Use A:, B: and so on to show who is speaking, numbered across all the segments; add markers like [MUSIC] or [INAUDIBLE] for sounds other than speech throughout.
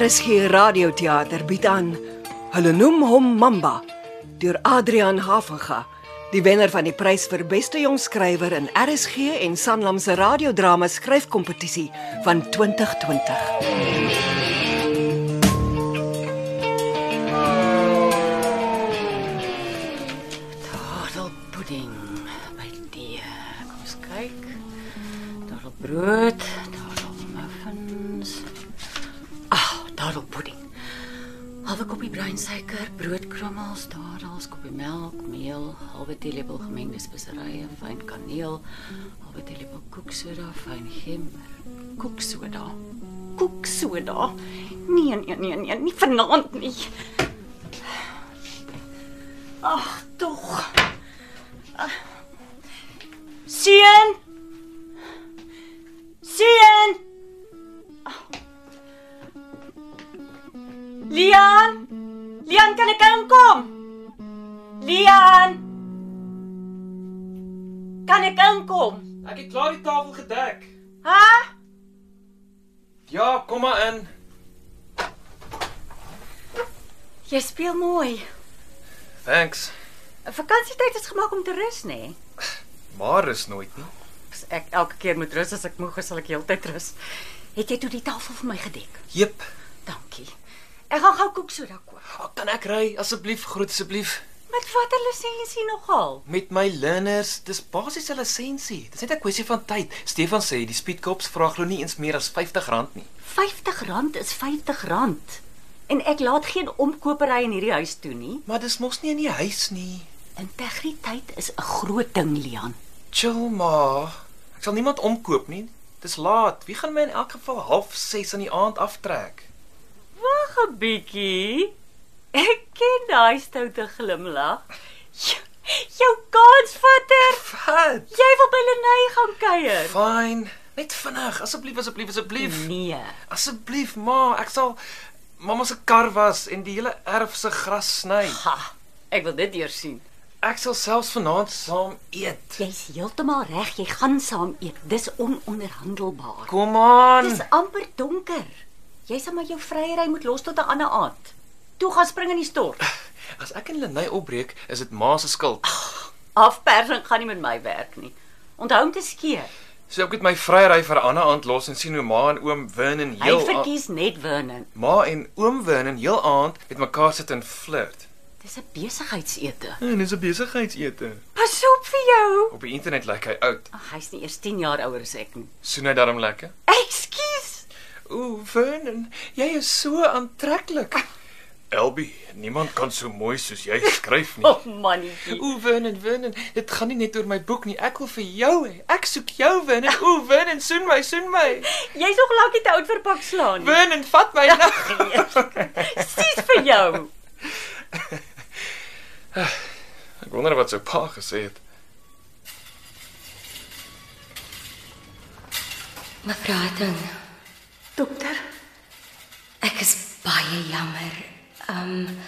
A: RSG Radioteater bied aan Hulle noem hom Mamba deur Adrian Havenga, die wenner van die prys vir beste jong skrywer in RSG en Sanlam se radiodrama skryfkompetisie van 2020.
B: Aardappelpudding by tee. Kom ons kyk. Aardappelbrood, aardappelmuffins. Ah, aardappelpudding. Halwe koppie bruinsuiker, broodkrummels, aardappels, koppie melk, meel, halwe teelepel gemengde speserye, fyn kaneel, halwe teelepel koeksoda, fyn gember, koeksoda. Koeksoda. Nee, nee, nee, nee, nie vanaand nie. Ag, tog. Ah. Seun. Seun. Ah. Lian. Lian kan ek inkom? Lian. Kan ek inkom?
C: Ek het klaar die tafel gedek.
B: Ha?
C: Ja, kom maar in.
B: Jy speel mooi.
C: Thanks.
B: 'n Vakansietyd is gemaak om te rus, nê? Nee?
C: Maar is nooit nie.
B: As ek elke keer moet rus as ek moeg is, sal ek heeltyd rus. Het jy toe die tafel vir my gedek?
C: Jep.
B: Dankie. Ek gaan gou koeksoda koop.
C: Oh, kan ek ry asseblief, groet asseblief
B: Met watter lisensie nogal?
C: met my learners. Dis basies 'n lisensie. Dis net 'n kwessie van tyd. Stefan sê die speedkops vra glo nie eens meer as R50 nie.
B: R50 is R50. En ek laat geen omkopery in hierdie huis toe nie.
C: Maar dis mos nie in die huis nie.
B: Integriteit is 'n groot ding, Leon.
C: Chill maar. Ek sal niemand omkoop nie. Dis laat. Wie gaan my in elk geval half 6 in die aand aftrek?
B: Wag 'n bietjie. Ek ken daai stoute glimlag. Jou, jou kansvatter.
C: Wat?
B: Jy wil by Lenay gaan kuier.
C: Fyn. Net vinnig, asseblief, asseblief, asseblief.
B: Nee.
C: Asseblief ma, ek sal mamma se kar was en die hele erf se gras sny.
B: Ha. Ek wil dit eers sien.
C: Ek sal selfs vanaand saam eet.
B: Jy's heeltemal reg, jy gaan saam eet. Dis ononderhandelbaar.
C: Kom aan.
B: Dis amper donker. Jy sal maar jou vryery moet los tot 'n ander aand. Toe gaan spring in die stort.
C: As ek en Lenay opbreek, is dit ma se skuld.
B: Afpersing gaan nie met my werk nie. Onthou om te skeer.
C: So ek moet my vryery vir 'n ander aand los en sien hoe ma en oom Win en
B: Hy
C: heel aand-
B: verkies net Vernon.
C: ma en oom Win en heel aand met mekaar sit en flirt.
B: Dis 'n besigheidsete.
C: En dis 'n besigheidsete.
B: Pas op vir jou.
C: Op die internet lyk hy oud.
B: Ag, hy's nie eers 10 jaar ouer as ek nie.
C: Soen hy darm lekker?
B: Ekskuus.
C: Ooh, Vernon, jy is so aantreklik. Elbie, niemand kan so mooi soos jy skryf [LAUGHS] nie.
B: Oh mannetjie.
C: Ooh, Vernon, Vernon, dit gaan nie net oor my boek nie. Ek wil vir jou hê. Ek soek jou, Vernon. Ooh, Vernon, soen my, soen my.
B: Jy's nog lankie te oud vir pakslaan.
C: Vernon, vat my nou.
B: [LAUGHS] Sies vir jou.
C: [LAUGHS] Ek wonder wat sy pa gesê het.
D: Mevrou Hatton,
E: Dokter,
D: ek is baie jammer. Ehm um,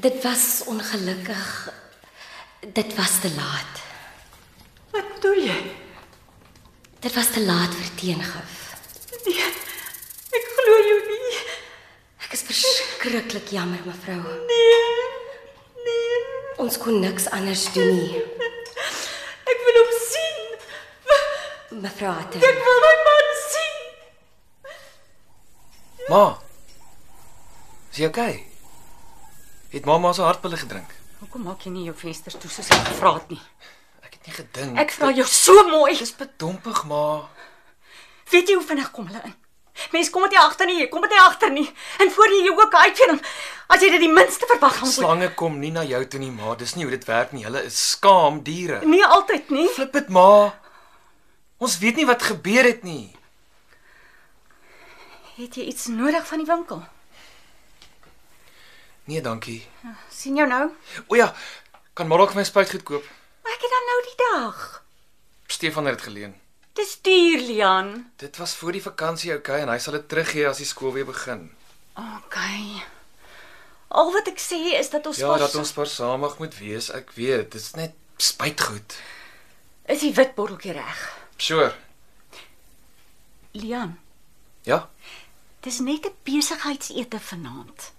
D: dit was ongelukkig. Dit was te laat.
E: wat doen jy?
D: Dit was te laat vir teengif.
E: Nee, ek glo jou nie.
D: Ek is verskriklik jammer, mevrou.
E: Nee. Nee.
D: Ons kon niks anders doen nie.
E: Ek wil hom sien.
D: Mevrou
E: Ek
D: Hatton,
E: wil my man sien.
C: Ma. Is jy okay? Het mamma se hartpille gedrink?
B: Hoekom maak jy nie jou vensters toe soos ek gevra het nie?
C: Ek het nie gedink.
B: Ek vra jou so mooi.
C: Dis bedompig, ma.
B: Weet jy hoe vinnig kom hulle in? Mense kom dit nie agter nie, jy kom dit nie agter nie. En voor jy jou ook uitvinding, as jy dit die minste verwag gaan moet.
C: Slange kom nie na jou toe nie, ma. Dis nie hoe dit werk nie. Hulle is skaam diere.
B: Nie altyd nie.
C: Flip dit, ma. Ons weet nie wat gebeur het nie.
B: Het jy iets nodig van die winkel?
C: Nee, dankie.
B: sien jou nou.
C: O ja, kan maar ook vir my spuitgoed koop.
B: Maar ek het dan nou die dag.
C: Stefan het dit geleen.
B: Dis duur, Lian.
C: Dit was voor die vakansie, okay, en hy sal dit teruggee as die skool weer begin.
B: OK. Al wat ek sê is dat ons
C: Ja,
B: pas-
C: dat ons versamig moet wees, ek weet. Dit's net spytgoed.
B: is Is die wit botteltjie reg?
C: Sure.
B: Lian,
C: Ja.
B: dis net 'n besigheidsete vanaand.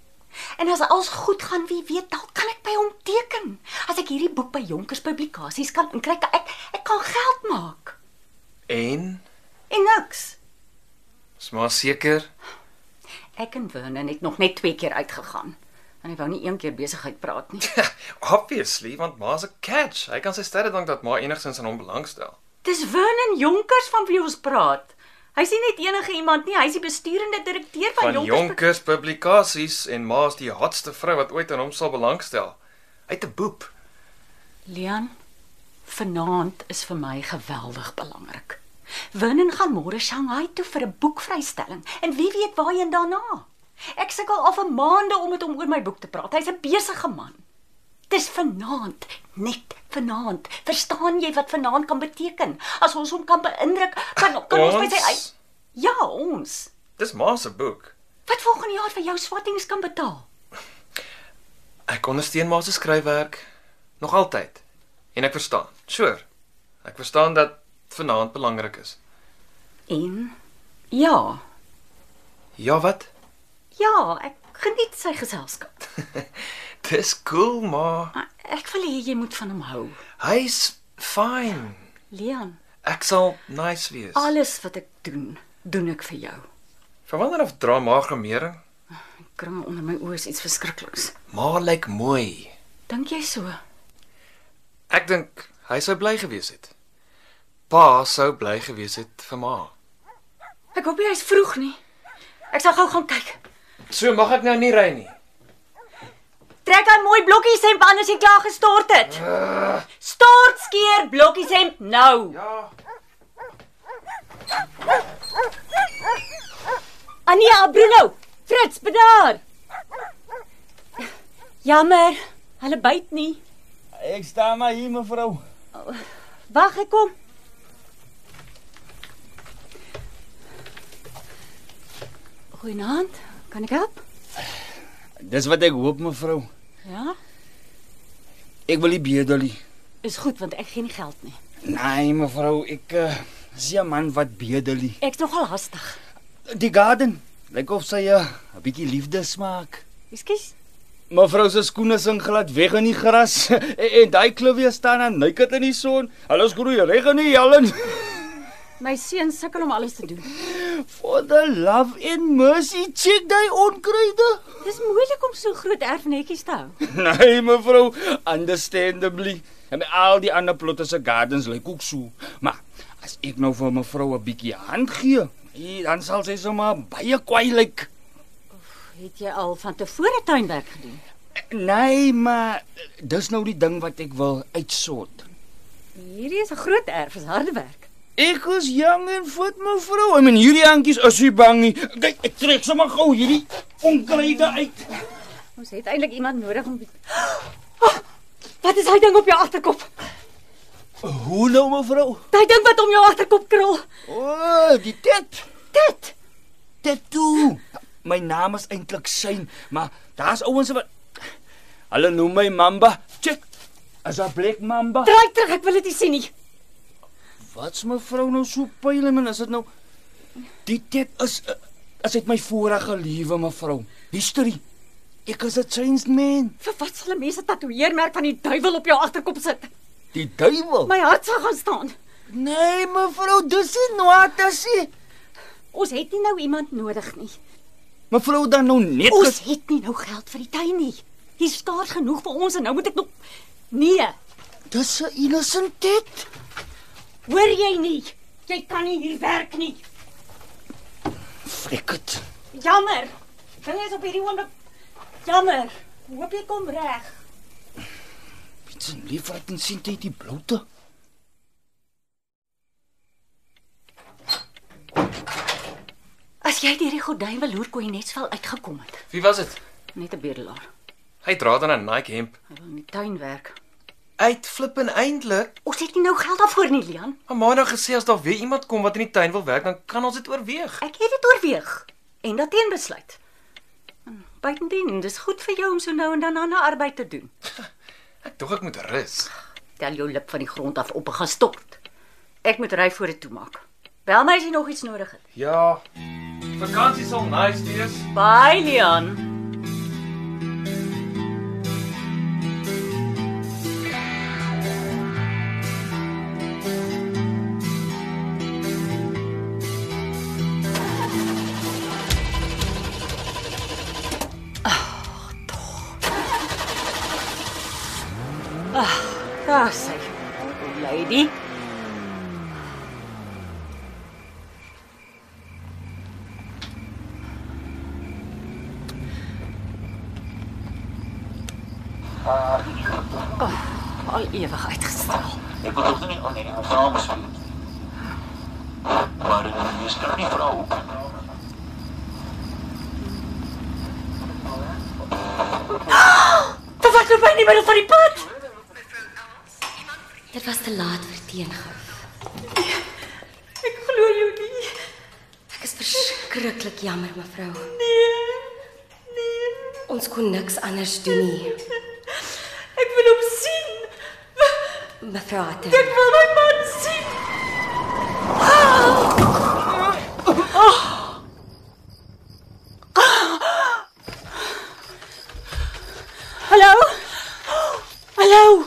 B: En as alles goed gaan, wie weet, dalk kan ek by hom teken. As ek hierdie boek by Jonkers Publikasies kan inkry, kan ek ek kan geld maak.
C: En
B: En niks.
C: is maar seker. [LAUGHS]
B: Ek en Vernon het nog net twee keer uitgegaan. En hy wou nie een keer besigheid praat nie.
C: Obviously, want ma's 'n catch. Hy kan sy sterre dank dat ma enigstens aan hom belangstel.
B: [LAUGHS] Dis Vernon Jonkers van wie ons praat. Hy's nie net enige iemand nie, hy's die besturende direkteur van,
C: Van Jonkers Publikasies en ma's die hotste vrou wat ooit aan hom sal belangstel. Uit 'n boep.
B: Leon, vanaand is vir my geweldig belangrik. Vernon gaan môre Shanghai toe vir 'n boekvrystelling en wie weet waarheen daarna. Ek sukkel al vir maande om met hom oor my boek te praat. Hy's 'n besige man. Dis vanaand, net vanaand. Verstaan jy wat vanaand kan beteken? As ons hom kan beïndruk, kan kan ons, by sy uit. Ja, ons.
C: Dis ma se boek.
B: Wat volgende jaar vir jou swattings kan betaal?
C: Ek ondersteun maar sy skryfwerk nog altyd. En ek verstaan. Sure. Ek verstaan dat vanaand belangrik is.
B: En ja,
C: Ja, wat?
B: ja, ek geniet sy geselskap.
C: Dis cool, maar
B: Maar Ek wil hê jy moet van hom hou.
C: hy's fine.
B: Leon,
C: Ek sal nice wees.
B: alles wat ek doen, doen ek vir jou.
C: Van wanneer af dra ma gemering?
B: Kringe onder my oë is iets verskrikliks.
C: Ma lyk mooi.
B: Dink jy so?
C: Ek dink hy sou bly gewees het. Pa sou bly gewees het vir ma.
B: Ek hoop jy's vroeg nie. Ek sal gou gaan kyk.
C: So mag ek nou nie ry nie.
B: Trek aan mooi blokkies hemp anders jy klaar gestort het. Stort skeer blokkies hemp nou.
C: Ja.
B: Ania Bruno, Fritz bedaar. Jammer, hulle byt nie.
F: Ek staan maar hier mevrou.
B: Wag, ek kom. Goeienaand. Kan ek help?
F: Dis wat ek hoop mevrou.
B: Ja,
F: Ek wil nie bedel nie.
B: is goed want ek gee nie geld nie.
F: Nee mevrou, ek uh, is nie 'n man wat bedel nie.
B: Ek's nogal hastig.
F: Die garden, lyk of sy uh, 'n bietjie liefde smaak.
B: Ekskuus.
F: Mevrou se skoene sing glad weg in die gras [LAUGHS] en, en daai kluwe staan aan nuikend in die son. Hulle groei reg in die helling.
B: My seun sukkel om alles te doen.
F: [LAUGHS] For the love and mercy, check daai onkruide.
B: Dis moeilik om so groot erfnetjies te hou.
F: [LAUGHS] Nee mevrou, understandably. En al die ander plotte se gardens lyk ook so. Maar as ek nou vir mevrou 'n bietjie hand gee, hier, dan sal sy sommer baie kwaai lyk.
B: Het jy al van tevore tuinwerk gedoen?
F: Nee, maar dis nou die ding wat ek wil uitsort.
B: Hierdie is 'n groot erf, is harde werk.
F: Ek is jong en vet mevrou. En men hierdie handjies is nie bang nie. Kyk, ek trek sommer gou hierdie onkruide uit.
B: Ons het eintlik iemand nodig om [GASPS] oh, Wat is daai ding op jou agterkop?
F: Hoe nou mevrou?
B: Daai ding wat om jou agterkop krul.
F: O, oh, die tet.
B: Dit.
F: Tattoo. My naam is eintlik Shane, maar daar's ouens wat Hulle noem my Mamba. Check. As 'n black Mamba.
B: Draai terug, ek wil dit nie sien nie.
F: Wat's mevrou nou so pyle man? Is dit nou Die tet is uh, is uit my vorige lewe mevrou. History. Ek is 'n changed man.
B: Vir wat sal 'n mens 'n tatoeëermerk van die duiwel op jou agterkop sit?
F: Die duiwel.
B: My hart sal gaan staan.
F: Nee mevrou, dis nie noatasie.
B: Ons het nie nou iemand nodig nie.
F: Mevrou dan nou net
B: Ons het nie nou geld vir die tuin nie. Hier's skaars genoeg vir ons en nou moet ek nog Nee,
F: dis 'n innocent tet.
B: hoor jy nie? Jy kan nie hier werk nie.
F: Frikket.
B: Jammer. Dinge is op hierdie oomblik jammer. Hoop jy kom reg.
F: Bietjie lief wat en sien jy die bloute?
B: As jy deur die gordyn wil loer, kon jy net sowel uitgekom het.
C: Wie was dit?
B: Net 'n bedelaar.
C: Hy dra dan 'n Nike hemp.
B: Hy wil in die tuin werk.
C: Uit flippin eintlik.
B: Ons het nie nou geld daarvoor nie, Leon.
C: Maar maandag gesê as daar weer iemand kom wat in die tuin wil werk, dan kan ons dit oorweeg.
B: Ek het dit oorweeg en daarteen besluit. En Buitendien, dis goed vir jou om so nou en dan aan 'n arbeid te doen.
C: Ek dink ek moet rus.
B: Tel jou lip van die grond af op en gaan stort. Ek moet ry voor dit toemaak. Bel my as jy nog iets nodig het.
C: Ja. Vakansie sal nice wees.
B: Bye Leon. Daar sê jy, lady. Oh, al ewig uitgestel.
G: Ek wil tog nie al hierdie verhaal bespreek nie. Maar dit is kan nie vra hoekom.
E: Dan wat loop hy in die middel van die pad?
D: Dit was te laat vir teengif.
E: Ek glo jou nie.
D: Ek is verskriklik jammer, mevrou.
E: Nee. Nee.
D: Ons kon niks anders doen nie.
E: Ek wil hom sien.
D: Mevrou Hatter.
E: Ek wil my man sien.
B: Hallo.
E: Hallo.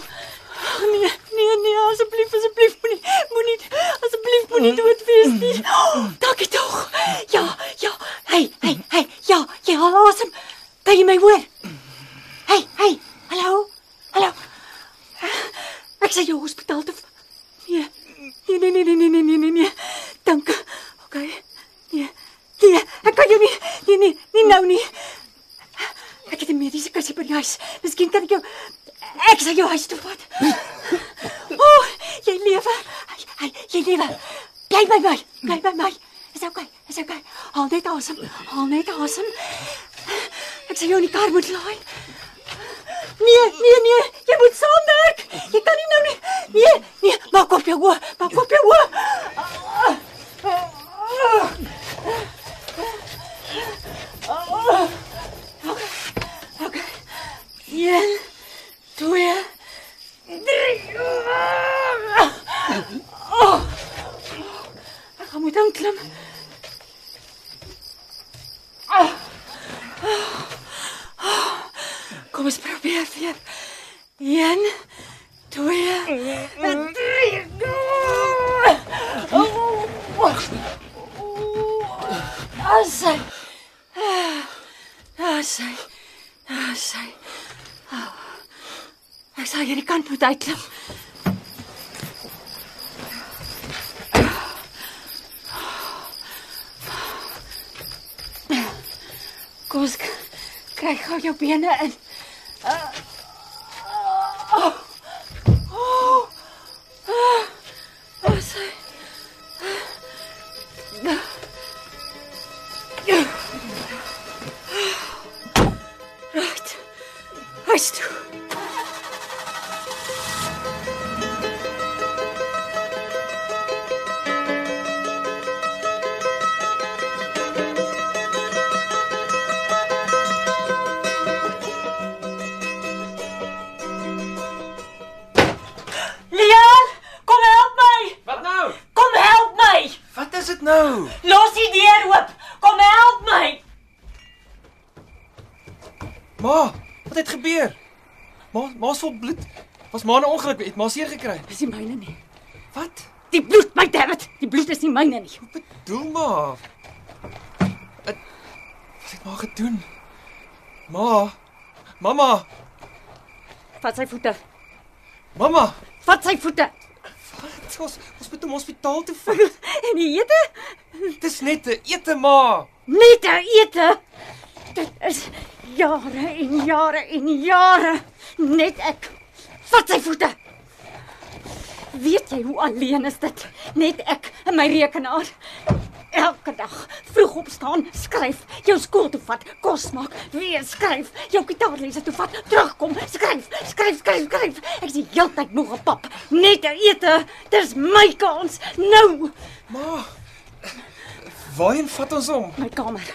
E: Nee, nee, nee, asseblief, asseblief moenie moenie asseblief moenie dood wees nie. Oh, Dankie tog. Ja, ja. Hey, hey, hey. Ja, jy haal asem. Kan jy my hoor? Hey, hey. Hallo. Hallo. Ek sê jou hospitaal toe. Nee. Nee, nee, nee, nee, nee, nee, nee, nee, nee. Dankie. Okay. Nee. Nee, ek kan jou nie. Nee, nee, nie nou nie. Ek het 'n mediese kassie by die huis. Miskien kan ek jou ek sal jou huis toe vat. O, oh, jy lewe. Hy, hy, jy lewe. Bly by my. Bly by my. Is okay. Is okay. Haal net asem. Haal net asem. Ek sal jou in die kar moet laai. Nee, nee, nee. Jy moet saamwerk. Jy kan nie nou nie. Nee, nee. Maak op jou oë. Maak op jou oë. Okay. Een, twee, drie. Oh. Ek gaan moet aanklim. Ah. Kom eens probeer weer. Een, twee, drie. Oh. Asai. Asai. Asai. Ek sal hierdie kant moet uitklim. Kom ons k- kry gou jou bene in. Ah, sy. Right. Huis toe. Leon, kom help my.
C: Wat nou?
E: Kom help my.
C: Wat is dit nou?
E: Los die deur oop. Kom help my.
C: Ma, wat het gebeur? Ma, ma's vol bloed. Was ma 'n ongeluk het ma seer gekry?
B: Dis nie myne nie.
C: Wat?
B: Die bloed, my dammit, die bloed is nie myne nie.
C: Wat bedoel ma? Het, wat het ma gedoen? Ma. Mamma,
B: Vat sy voete.
C: mamma.
B: Vat sy voete.
C: Wat? Ons ons moet hom hospitaal toe vat.
B: En die ete?
C: Dis net 'n ete ma.
B: Net 'n ete. Dit is jare en jare en jare net ek. Vat sy voete. Weet jy hoe alleen is dit? Net ek en my rekenaar. Elke dag vroeg opstaan, skryf, jou skool toe vat, kos maak, weer skryf, jou gitaarlesse toe vat, terugkom, skryf, skryf, skryf, skryf. Ek is die heeltyd moeg op pap. Net 'n ete. Dis my kans nou.
C: Ma. Waarheen vat ons hom?
B: My kamer.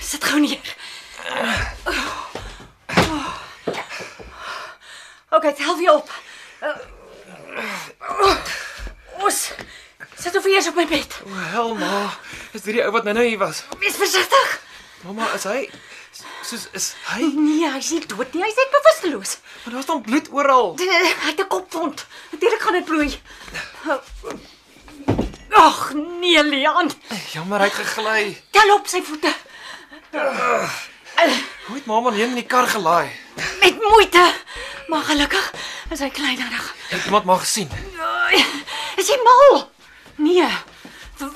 B: Sit gou neer. Okay, tel weer op. Uh, ons sit of eers op my bed.
C: O, hel ma. Is hierdie ou wat nou-nou hier was?
B: Wees versigtig.
C: Mamma, is hy soos is hy?
B: Nee, hy's nie dood nie. Hy's net bewusteloos.
C: Maar daar's dan bloed oral.
B: D- eh, Hy het 'n kopwond. Natuurlik gaan dit bloei. Uh, Ag nee, Leon.
C: Jammer, hy het gegly.
B: Tel op sy voete
C: Hoe het mamma hom in die kar gelaai?
B: met moeite. Maar gelukkig is hy kleinerig.
C: Het iemand maar gesien.
B: Ai, Is jy mal? Nee.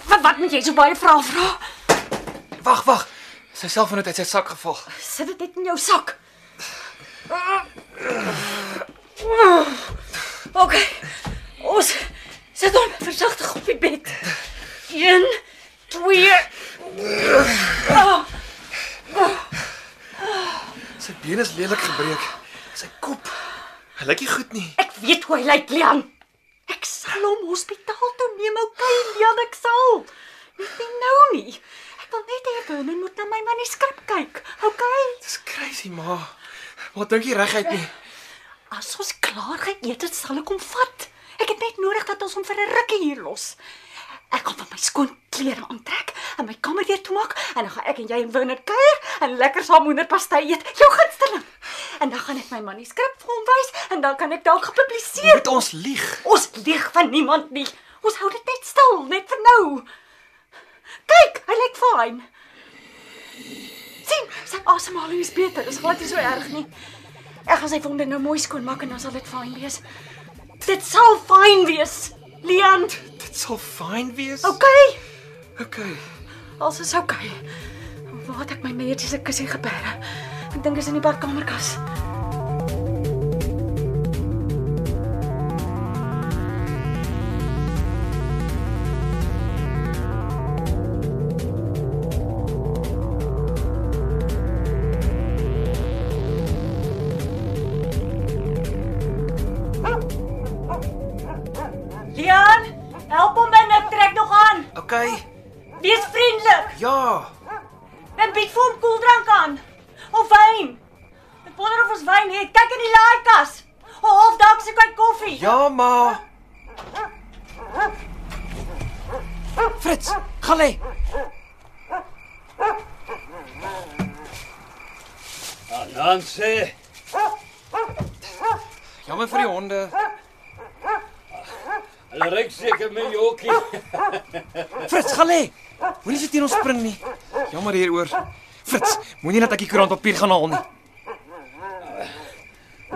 B: Wat wat moet jy so baie vra vra?
C: Wag, wag. Sy selfoon het uit sy sak geval.
B: Sit dit net in jou sak. OK. Ons sit hom versigtig op die bed. 1 2
C: Sy been is lelik gebreek. Sy kop. Hy lyk nie goed nie.
B: Ek weet hoe hy lyk, Leon. Ek sal hom hospitaal toe neem, okay, Leon, ek sal. Net nie nou nie. Ek wil net hê Vernon moet na my manuskrip kyk, okay?
C: Dis crazy, ma. Wat dink jy reguit nie?
B: As ons klaar geëet het, sal ek hom vat. Ek het net nodig dat ons hom vir 'n rukkie hier los. Ek gaan van my skoon klere aantrek en my kamer weer toemaak en dan gaan ek en jy en Wouter kuier en lekker saam hoenderpastei eet, jou gunsteling. En dan gaan ek my manuskrip vir hom wys en dan kan ek dalk gepubliseer.
C: Moet ons lieg?
B: Ons lieg van niemand nie. Ons hou dit net stil, net vir nou. Kyk, hy lyk fyn. sien, sy asemhaling is beter. Dit is glad nie so erg nie. Ek gaan sy wonde nou mooi skoonmaak en dan sal dit fyn wees. Dit sal fyn wees. Leon,
C: Dit sal fyn wees.
B: okay?
C: Okay.
B: Alles is okay. Waar het ek my meertjie se kussie geberg? Ek dink dit is in die badkamerkas. Leon, help hom binne, ek trek nog aan.
C: Okay.
B: Wees vriendelik
C: Ja.
B: en bied vir hom koeldrank aan of wyn. Ek wonder of ons wyn het. Kyk in die laaikas. Of dalk soek hy koffie.
C: Ja, ma.
F: Frits, gaan lê.
H: Dan sê,
C: Jammer vir die honde.
H: hulle ryk seker my jokkie.
C: Frits, gaan lê. Moenie so teen ons spring nie. Jammer hieroor. Frits, moenie dat ek die koerantpapier gaan haal nie.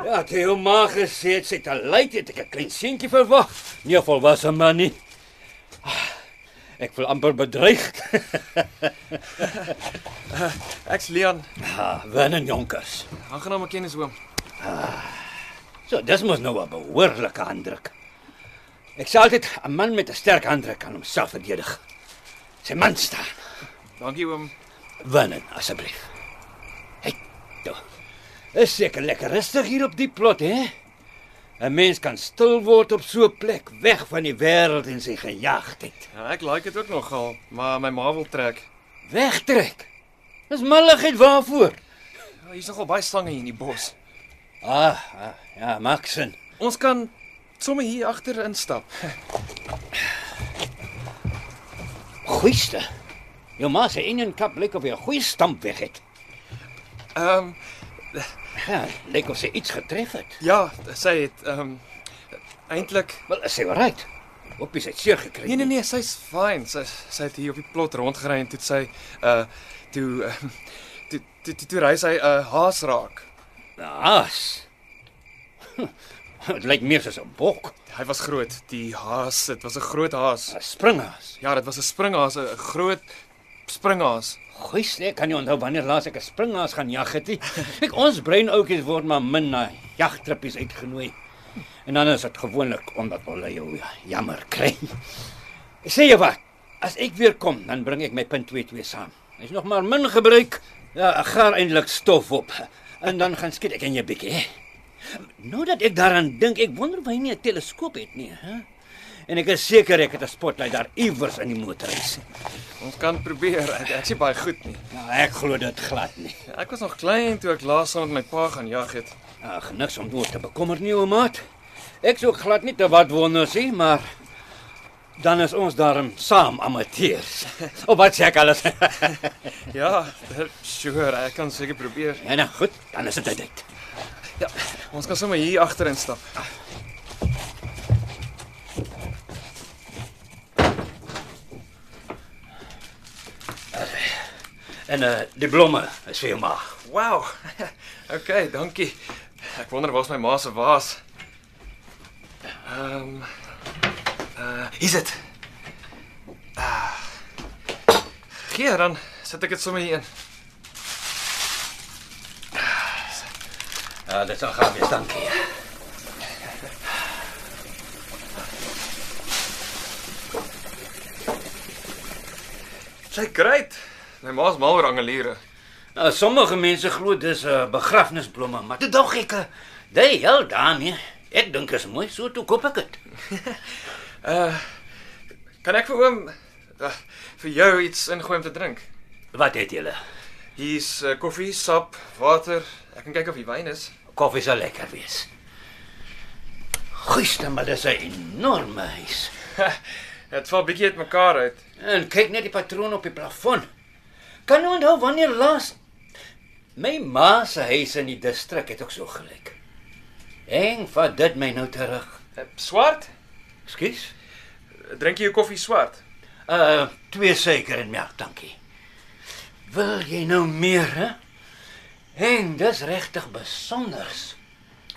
H: Ja, het jou ma gesê het sy te lyd het ek 'n klein seentjie verwag. Nie 'n volwasse man nie. Ah, Ek voel amper bedreig.
C: Ek's Leon.
H: Ah, Winnen jonkers.
C: Aangename kennis oom.
H: So, dis mos nou 'n behoorlike handdruk. Ek sê altyd 'n man met 'n sterk handdruk kan homself verdedig. Sy man staan.
C: Dankie oom.
H: Winnen asseblief. Hey, toe. Is seker lekker rustig hier op die plot, hè? 'n Mens kan stil word op so 'n plek, weg van die wêreld en sy gejaagdheid.
C: Ja, ek like dit ook nogal, maar my ma wil trek.
H: Wegtrek. Dis malligheid waarvoor?
C: Ja, hier's nogal baie slange hier in die bos.
H: Ah, ah ja, maak sin.
C: Ons kan sommer hier agter instap.
H: Goeieste. Jou ma se enenkap lyk of hy 'n goeie stamp weg het.
C: Ehm um,
H: Ja, lyk of sy iets getref het.
C: ja, sy het ehm um, eintlik
H: Wel, is sy reg? Op is hy seer gekry.
C: Nee nee nee, sy's fyn. Sy sy het hier op die plot rondgery en toe het sy uh toe ehm, toe toe, toe, toe ry sy 'n uh, haas raak. nee.
H: Haas. Hm, [LAUGHS] Dit lyk meer soos 'n bok,
C: Hy was groot, die haas, dit was 'n groot haas.
H: 'n springhaas.
C: Ja, dit was 'n springhaas, 'n groot springhaas.
H: Goeie, ek kan nie onthou wanneer laas ek 'n springhaas gaan jag het nie. Kyk, ons brein ouetjies word maar min na jagtrippies uitgenooi. En dan is dit gewoonlik omdat hulle jou ja, jammer kry. Sê jy wat? As ek weer kom, dan bring ek my punt 22 saam. Hy's nog maar min gebruik. Ja, ek gaan eintlik stof op. En dan gaan skiet ek in jou bietjie, hè. Nou dat ek daaraan dink, ek wonder of hy nie 'n teleskoop het nie, hè? En ek is seker ek het 'n spotlight daar iewers in die motorhuis.
C: Ons kan probeer. Ek ek's nie baie goed nie.
H: Nou, ek glo dit glad nie.
C: Ek was nog klein toe ek laas saam met my pa gaan jag het.
H: Ag, Ah, niks om oor te bekommer nie, ou maat. Ek sou glad nie te wat wonder sê, maar dan is ons daarom saam amateurs. [LAUGHS] Op wat sê ek alles? [LAUGHS]
C: Ja, eh, sure, ek kan seker probeer.
H: ja, nou goed, dan is dit uit. uit.
C: Ja, ons kan sommer hier agter instap.
H: En eh uh, die blomme is vir jou ma.
C: [LAUGHS] Wow. Okay, dankie. Ek wonder waar's my ma se vaas. Ehm um, uh is dit? Uh, hier dan sit ek dit sommer hier in.
H: Ja, dit sal gaan wees, dankie.
C: Sy great. My ma's mal oor angeliere.
H: Nou sommige mense glo dis 'n uh, begrafnisblomme, maar dit dog ek. eh, Daai hel daarmee. Ek dink is mooi, so toe koop ek dit.
C: Kan ek vir oom uh, vir jou iets ingooi om te drink?
H: Wat het julle?
C: Hier's uh, koffie, sap, water. Ek kan kyk of die wyn is.
H: Koffie sal lekker wees. Gister maar dis 'n enorme huis.
C: Dit val bietjie uitmekaar uit.
H: En kyk net die patroon op die plafon. Kan jy onthou wanneer laas my ma se huis in die distrik het ook so gelyk. Eng, vat dit my nou terug.
C: Uh, swart?
H: Skus.
C: Drink jy jou koffie swart?
H: Uh, twee suiker en melk, dankie. Wil jy nou meer, hè? Eng, dis regtig besonders.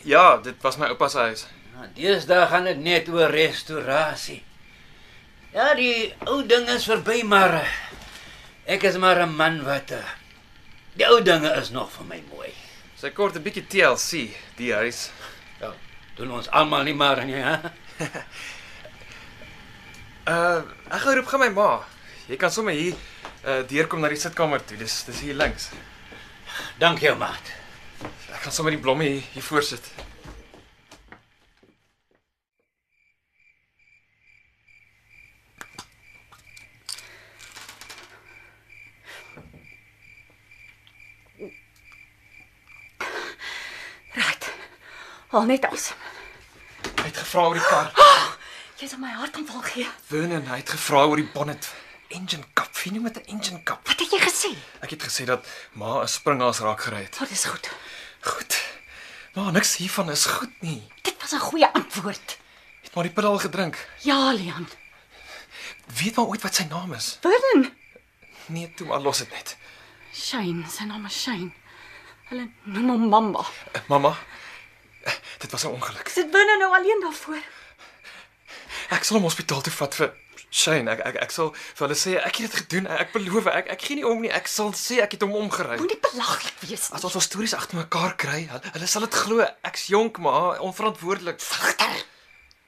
C: Ja, dit was my oupa se huis.
H: Nou, deesdae gaan dit net oor restaurasie. Ja, die ou ding is verby, maar eh, ek is maar 'n man wat eh, die ou dinge is nog vir my mooi.
C: Sy kort 'n bietjie TLC, die huis.
H: Ja, doen ons almal nie maar nie, hè?
C: Uh, ek gaan roep gaan my ma. Jy kan sommer hier uh deurkom na die sitkamer toe. Dis dis hier links.
H: Dankie, ou maat.
C: Ek gaan sommer die blomme hier, hier voor sit.
B: Right. Haal net asem.
C: Hy het gevra oor die
B: [GASPS]
C: kar.
B: Jy sal my hart aanval gee.
C: Vernon, hy het gevra oor die bonnet. Engine kap. Wie noem dit 'n engine kap?
B: Wat het jy gesê?
C: Ek het gesê dat ma 'n springhaas raak gery het.
B: Dit is goed.
C: Goed. Maar niks hiervan is goed nie.
B: Dit was 'n goeie antwoord.
C: Het maar die pil al gedrink.
B: Ja, Leon.
C: Weet maar ooit wat sy naam is?
B: Vernon.
C: Nee, toe maar los dit net.
B: Shane, sy naam is Shane. Hulle noem hom Mamba.
C: Eh, Mamma, eh, dit was 'n ongeluk.
B: Sit binne nou alleen daarvoor.
C: Ek sal hom hospitaal toe vat vir Shane. Ek ek ek sal vir hulle sê ek het dit gedoen. Ek beloof ek ek gee nie om nie. Ek sal sê ek het hom omgery.
B: Moenie belaglik wees nie.
C: As ons ons stories agter mekaar kry, hulle, hulle sal dit glo. Ek's jonk maar onverantwoordelik.
B: Agter.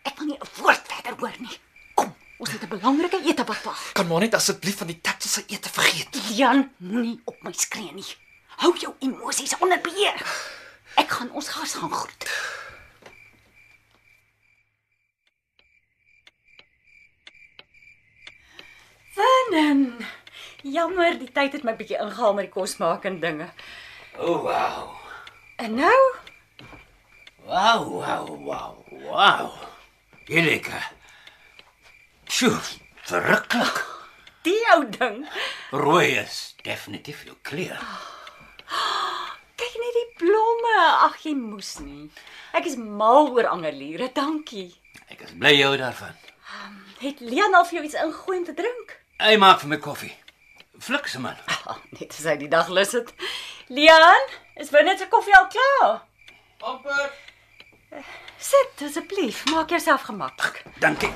B: Ek wil nie 'n woord verder hoor nie. Kom, ons het 'n belangrike ete wat wag.
C: Kan maar net asseblief van die taxi se ete vergeet.
B: Leon, moenie op my skree nie. Hou jou emosies onder beheer. Ek gaan ons gas gaan groet. Vernon. Jammer, die tyd het my bietjie ingehaal met die kos maak en dinge.
H: O, oh, wow.
B: En nou,
H: Wow, wow, wow, wow. Jy lekker. Sjoe, verruklik.
B: die ou ding.
H: Rooi is definitief jou kleur.
B: Kyk net die blomme. Ag, jy moes nie. Ek is mal oor angeliere. Dankie.
H: Ek is bly jy hou daarvan.
B: Het Leon al vir jou iets ingooi om te drink?
H: Hy maak vir my koffie. Flikse man. Ah,
B: Ag, net as hy die dag lus het. Leon, is binne se koffie al klaar? Eh,
C: Amper.
B: Sit asseblief, maak jouself gemaklik.
H: Dankie.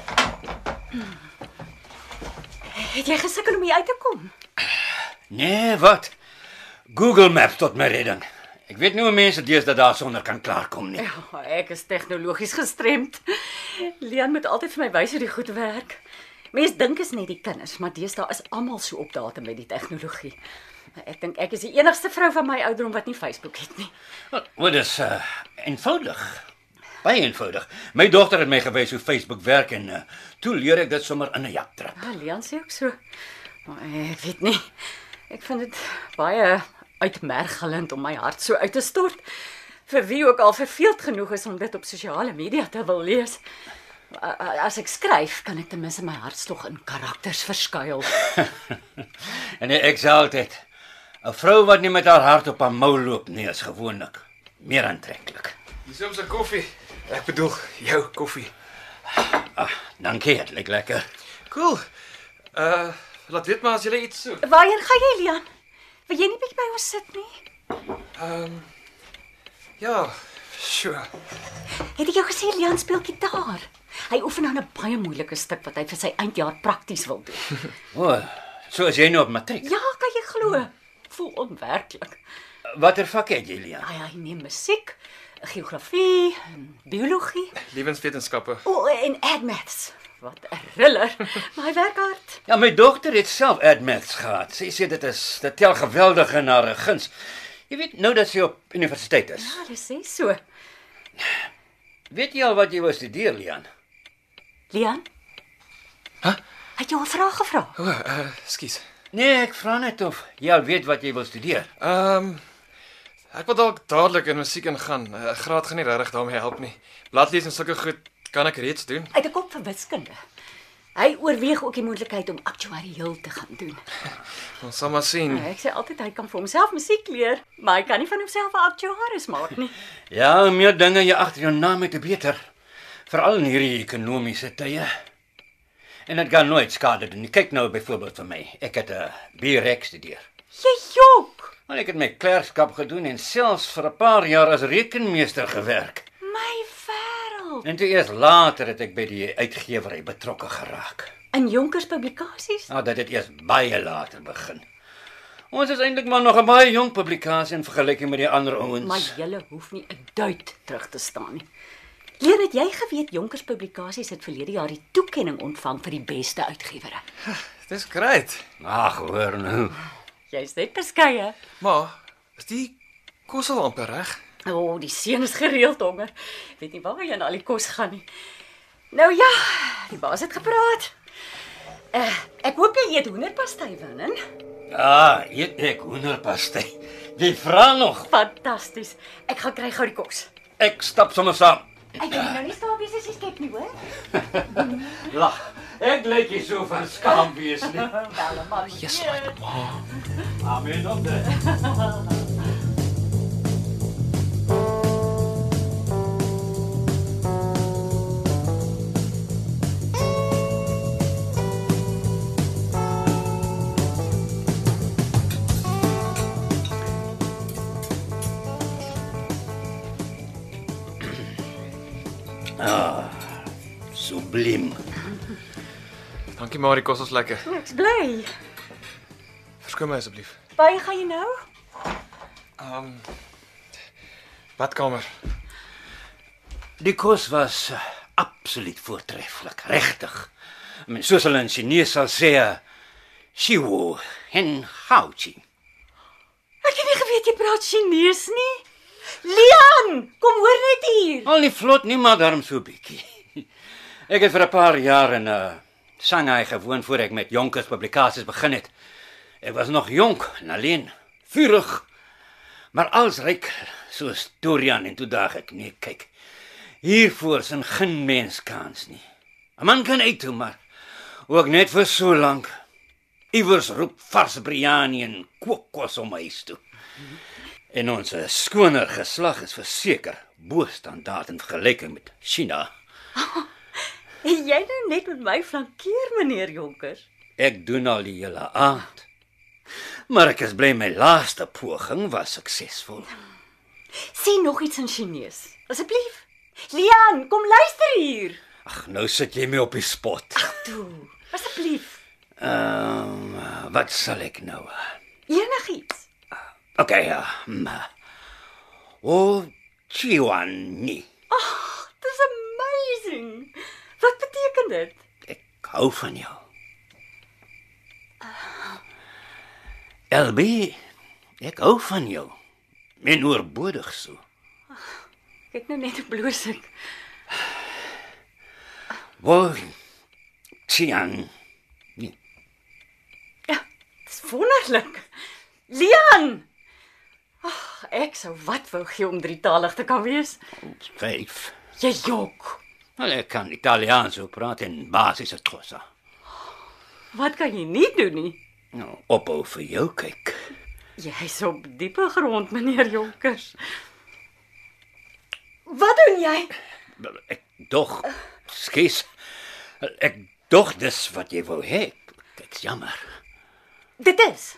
B: Het jy gesukkel om hier uit te kom?
H: Nee, wat? Google Maps tot my redding. Ek weet nie hoe mense deesdae daarsonder kan klaarkom nie.
B: Ja, ek is tegnologies gestremd. Leon moet altyd vir my wys hoe die goed werk. Mense dink is net die kinders, maar deesdae is almal so op datum met die tegnologie. Maar Ek dink ek is die enigste vrou van my ouderdom wat nie Facebook het nie.
H: Wat is uh, eenvoudig. Baie eenvoudig. My dogter het my gewys hoe Facebook werk en uh, toe leer ek dit sommer in 'n jak trap.
B: Ja, Leon sê ook so. Maar ek weet nie. Ek vind dit baie uitmergelend om my hart so uit te stort. vir wie ook al verveeld genoeg is om dit op sosiale media te wil lees. A- a- As ek skryf, kan ek ten minste my hartstog in karakters verskuil.
H: En hy exalt dit. 'n Vrou wat nie met haar hart op haar mou loop nie, is gewoonlik meer aantreklik.
C: Dis op sy koffie. Ek bedoel, jou koffie.
H: Dankie, dit lyk lekker.
C: Cool. Uh, laat weet maar as jy iets soek.
B: Waarheen gaan jy, Lian? Wil jy nie bietjie by ons sit nie?
C: Ja, sure.
B: Het ek jou gesê Lian speel gitaar? Hy oefen aan 'n baie moeilike stuk wat hy vir sy eindjaar prakties wil doen.
H: O, oh, so as jy nou op matriek.
B: Ja, kan jy glo? Voel onwerklik.
H: Watter vak het jy, Lia?
B: Hy hy neem musiek, geografie, en biologie
C: Lewenswetenskappe.
B: o, en ad maths. Wat 'n thriller. [LAUGHS] Maar hy werk hard.
H: Ja, my dogter het self admits gehad. Sy sê dit is dit tel geweldig in haar guns. Jy weet nou dat sy op universiteit is.
B: Ja, dis sê so.
H: Weet jy al wat jy wou studeer, Lian?
B: Lian? Hæ? Het jy 'n vraag gevra?
C: O, oh, uh, skus.
H: Nee, ek vra net of jy al weet wat jy wil studeer.
C: Ehm um, ek wil dalk dadelik in musiek ingaan. 'n uh, Graad gaan nie regtig daarmee help nie. Bladlees en sulke goed kan ek reeds doen.
B: Uit 'n kop vir wiskunde. Hy oorweeg ook die moontlikheid om aktuarieel te gaan doen.
C: Ons sal maar sien.
B: Ja, Ek sê altyd hy kan vir homself musiek leer, maar hy kan nie van homself 'n aktuaris maak nie.
H: Ja, hoe meer dinge jy agter jou naam het, hoe beter. Veral in hierdie ekonomiese tye. En dit gaan nooit skade doen. nie. Kyk nou byvoorbeeld vir my. Ek het eh, 'n B-rek E studeer.
B: Jy jok.
H: Maar ek het my klerkskap gedoen en selfs vir 'n paar jaar as rekenmeester gewerk.
B: My wêreld.
H: En toe eers later het ek by die uitgewery betrokke geraak.
B: In Jonker se publikasies?
H: Nou dat dit eers baie later begin. Ons is eintlik maar nog 'n baie jong publikasie in vergelyking met die ander ouens.
B: Maar julle hoef nie 'n duit terug te staan nie. Leen, het jy geweet Jonker se publikasies het verlede jaar die toekenning ontvang vir die beste uitgewery?
C: Dis great.
H: Ag, hoor nou.
B: Jy's net beskeie.
C: Maar is die kos al amper reg?
B: O, oh, die seun is gereeld honger. Weet nie waar hy aan al die kos gaan nie. Nou ja, die baas het gepraat. Uh, ek hoop jy eet hoenderpastei winnen.
H: Ja, eet ek hoenderpastei. Jy vra nog.
B: Fantasties. Ek gaan kry gou die kos.
H: Ek stap sommer saam.
B: Ek kan nie nou nie staan wees as jy skep nie, hoor?
H: Lag. Ek lyk nie so van skaam wees nie.
B: Wel, maar yes,
H: Amen op dit. Subliem.
C: Dankie maar, die kos is lekker.
B: ek's bly.
C: Verskoon my asseblief.
B: Waar gaan jy nou?
C: Ehm um, badkamer.
H: Die kos was eh, absoluut voortreffelik, regtig. I mean, soos hulle in Chinees sal sê, eh, "Shiwo hen haoqi."
B: Ek het nie geweet jy praat Chinees nie. Leon, kom hoor net hier.
H: Al nie vlot nie, maar darm so bietjie. [LAUGHS] Ek het vir 'n paar jaar in uh, Shanghai gewoon voor ek met Jonkers Publikasies begin het. Ek was nog jonk en alleen, vurig, maar als ryk soos Dorian en toe daag ek, nee, kyk. Hiervoor is 'n geen mens kans nie. 'n Man kan uit toe, maar ook net vir so lank. Iewers roep vars biryani en kookkos om my huis toe. En ons eh, skoner geslag is verseker bo standaard in vergelyking met China.
B: Het jy nou net met my flankeer, meneer Jonker?
H: Ek doen al die hele aand. Maar ek is bly my laaste poging was suksesvol.
B: Sê nog iets in Chinees. Asseblief. Leon, kom luister hier.
H: Ag, nou sit jy my op die spot.
B: Toe, asseblief.
H: Ehm, um, wat sal ek nou?
B: Enigiets.
H: Okay, ja. Um, o, Chiwan nie.
B: Dis amazing. Wat beteken dit?
H: Ek hou van jou. LB, ek hou van jou. Men oorbodig so.
B: Kyk nou net hoe bloos ek.
H: Wo Chiang.
B: Dis wonderlik. Leon, Ag, ek sou wat wou gee om drietalig te kan wees.
H: Vyf.
B: Jy jok.
H: Wel ek kan Italiaans ook praat en basiese Xhosa.
B: Wat kan jy nie doen nie?
H: Nou, ophou vir jou kyk.
B: Jy's op diepe grond, meneer Jonkers.
E: Wat doen jy?
H: Wel, Ek dog skus. Ek dog dis wat jy wou hê. Dit's jammer.
B: Dit is.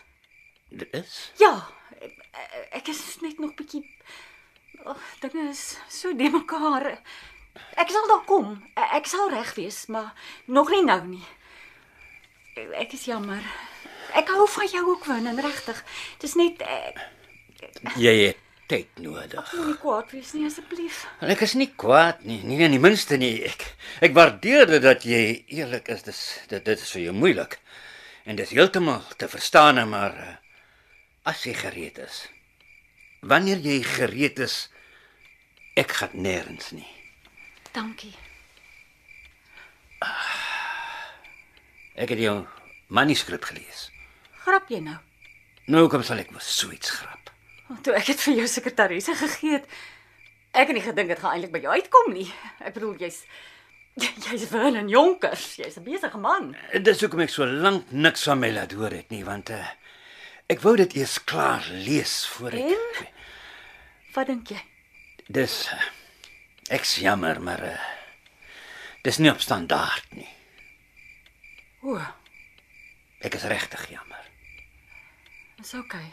H: Dit is.
B: Ja, ek is net nog bietjie oh, dinge is so de mekaar. Ek sal daar kom. Ek sal reg wees, maar nog nie nou nie. Ek is jammer. Ek hou van jou ook win en regtig. Dis net ek
H: Jy het tyd nodig.
B: moenie kwaad wees nie asseblief.
H: En ek is nie kwaad nie, nie in die minste nie. Ek ek waardeer dit dat jy eerlik is. Dis dit dit is vir jou moeilik. En dis heeltemal te verstaan, maar eh, as jy gereed is. Wanneer jy gereed is, ek gaan nêrens nie.
B: Dankie.
H: Ah, Ek het jou manuskrip gelees.
B: Grap jy nou?
H: Nou kom sal ek mos so iets grap.
B: Want toe ek dit vir jou sekretarisse gegee het, ek het nie gedink dit gaan eintlik by jou uitkom nie. Ek bedoel jy's jy's win en jonkers. Jy's 'n besige man.
H: Dis hoekom ek so lank niks van my laat hoor het nie, want uh, ek wou dit eers klaar lees voor ek
B: En? Wat dink jy?
H: Dis eh, ek's jammer, maar uh, dis nie op standaard nie.
B: O,
H: Ek is regtig jammer.
B: dis oukei.